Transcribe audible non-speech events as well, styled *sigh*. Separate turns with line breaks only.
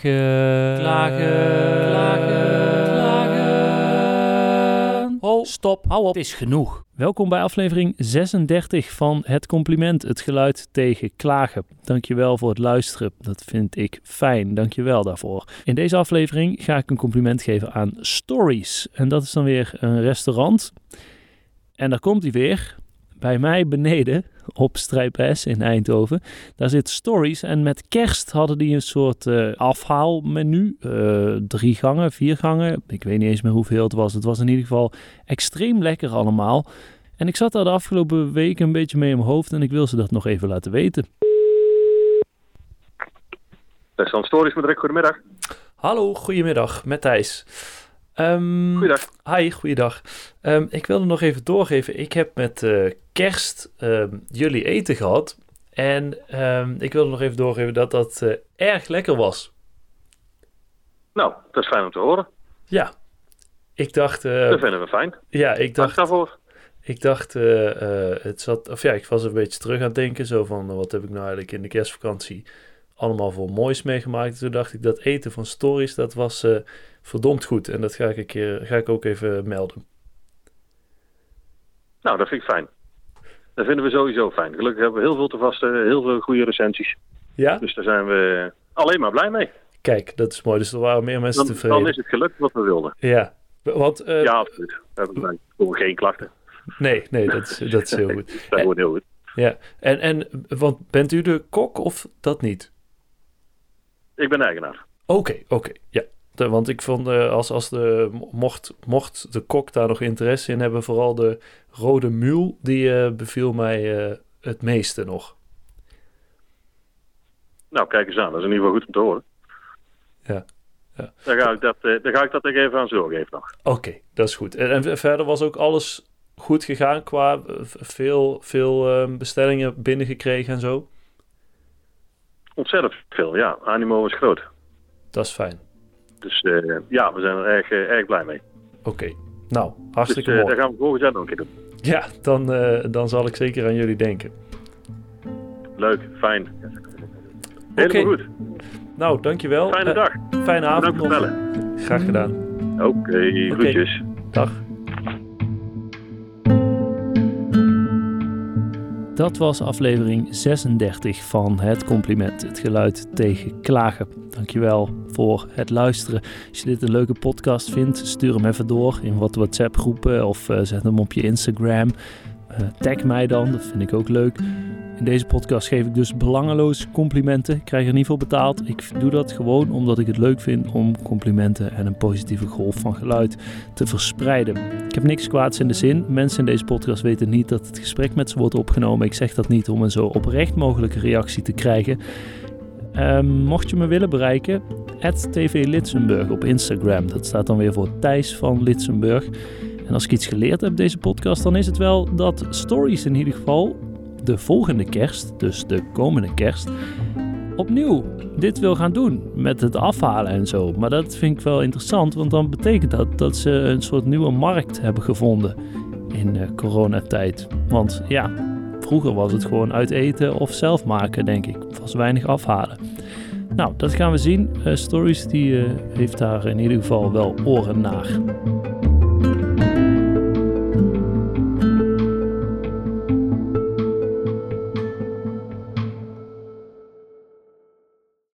Klagen. Klagen. Klagen. Klagen. Ho, stop, hou op. Het is genoeg.
Welkom bij aflevering 36 van Het Compliment, het geluid tegen klagen. Dankjewel voor het luisteren, dat vind ik fijn, dankjewel daarvoor. In deze aflevering ga ik een compliment geven aan Stories. En dat is dan weer een restaurant. En daar komt hij weer, bij mij beneden op Strijpes in Eindhoven. Daar zit Stories en met kerst hadden die een soort eh, afhaalmenu. Eh, drie gangen, vier gangen, ik weet niet eens meer hoeveel het was. Het was in ieder geval extreem lekker allemaal. En ik zat daar de afgelopen week een beetje mee in mijn hoofd en ik wil ze dat nog even laten weten.
Restaurant Stories met Rick, goedemiddag.
Mm. Hallo, goedemiddag, met Thijs. Ehm,
Goeiedag.
Hi, goeiedag. Ehm, ik wilde nog even doorgeven. Ik heb met eh, kerst ehm, jullie eten gehad. En ehm, ik wilde nog even doorgeven dat dat eh, erg lekker was.
Nou, dat is fijn om te horen.
Ja, ik dacht... eh,
dat vinden we fijn.
ja, ik
Dank
dacht...
daarvoor.
Ik dacht, eh, eh, het zat, of ja, ik was een beetje terug aan het denken. Zo van, eh, wat heb ik nou eigenlijk in de kerstvakantie allemaal voor moois meegemaakt. Toen dacht ik, dat eten van stories, dat was eh, verdomd goed. En dat ga ik, een keer, ga ik ook even melden.
Nou, dat vind ik fijn. Dat vinden we sowieso fijn. Gelukkig hebben we heel veel te vasten, heel veel goede recensies.
Ja?
Dus daar zijn we alleen maar blij mee.
Kijk, dat is mooi. Dus er waren meer mensen
Dan,
tevreden.
dan is het gelukt wat we wilden.
Ja. Want, eh,
ja, absoluut. We hebben bedankt. voor geen klachten.
nee, nee, dat is, dat
*laughs*
is heel goed. Eh,
Dat is gewoon heel goed.
Ja. En, en want bent u de kok of dat niet?
Ik ben eigenaar.
Oké, oké, ja. De- want ik vond, eh, als, als de, mocht, mocht de kok daar nog interesse in hebben, vooral de rode muul, die eh, beviel mij eh, het meeste nog.
Nou, kijk eens aan. Dat is in ieder geval goed om te horen.
Ja, ja.
Dan ga ik dat, eh, dan ga ik dat even aan zorgen even nog.
Oké, dat is goed. En, en ver- verder was ook alles goed gegaan qua eh, v- veel, veel eh, bestellingen binnengekregen en zo.
Ontzettend veel, ja. Animo is groot.
Dat is fijn.
Dus eh, ja, we zijn er erg, eh, erg blij mee.
Oké, nou,
Dus
hartstikke
eh,
mooi.
daar gaan we volgend jaar nog een keer doen.
Ja, dan, eh, dan zal ik zeker aan jullie denken.
Leuk, fijn. Helemaal
Oké.
goed.
Nou, dankjewel.
Fijne
Eh,
dag.
fijne avond
Bedankt voor
nog.
het bellen.
Graag gedaan.
Oké, groetjes.
Dag.
Dat was aflevering 36 van Het Compliment, het geluid tegen klagen. Dankjewel voor het luisteren. Als je dit een leuke podcast vindt, stuur hem even door in wat WhatsApp groepen of eh, zet hem op je Instagram. Eh, tag mij dan, dat vind ik ook leuk. In deze podcast geef ik dus belangeloos complimenten. Ik krijg er niet voor betaald. Ik doe dat gewoon omdat ik het leuk vind om complimenten en een positieve golf van geluid te verspreiden. Ik heb niks kwaads in de zin. Mensen in deze podcast weten niet dat het gesprek met ze wordt opgenomen. Ik zeg dat niet om een zo oprecht mogelijke reactie te krijgen. Ehm, mocht je me willen bereiken, TV Litsenburg op Instagram. Dat staat dan weer voor Thijs van Litsenburg. En als ik iets geleerd heb deze podcast, dan is het wel dat stories in ieder geval de volgende kerst, dus de komende kerst, opnieuw dit wil gaan doen met het afhalen en zo. Maar dat vind ik wel interessant, want dan betekent dat dat ze een soort nieuwe markt hebben gevonden in eh, coronatijd. Want ja, vroeger was het gewoon uit eten of zelf maken, denk ik. Was weinig afhalen. Nou, dat gaan we zien. Eh, Stories die eh, heeft daar in ieder geval wel oren naar.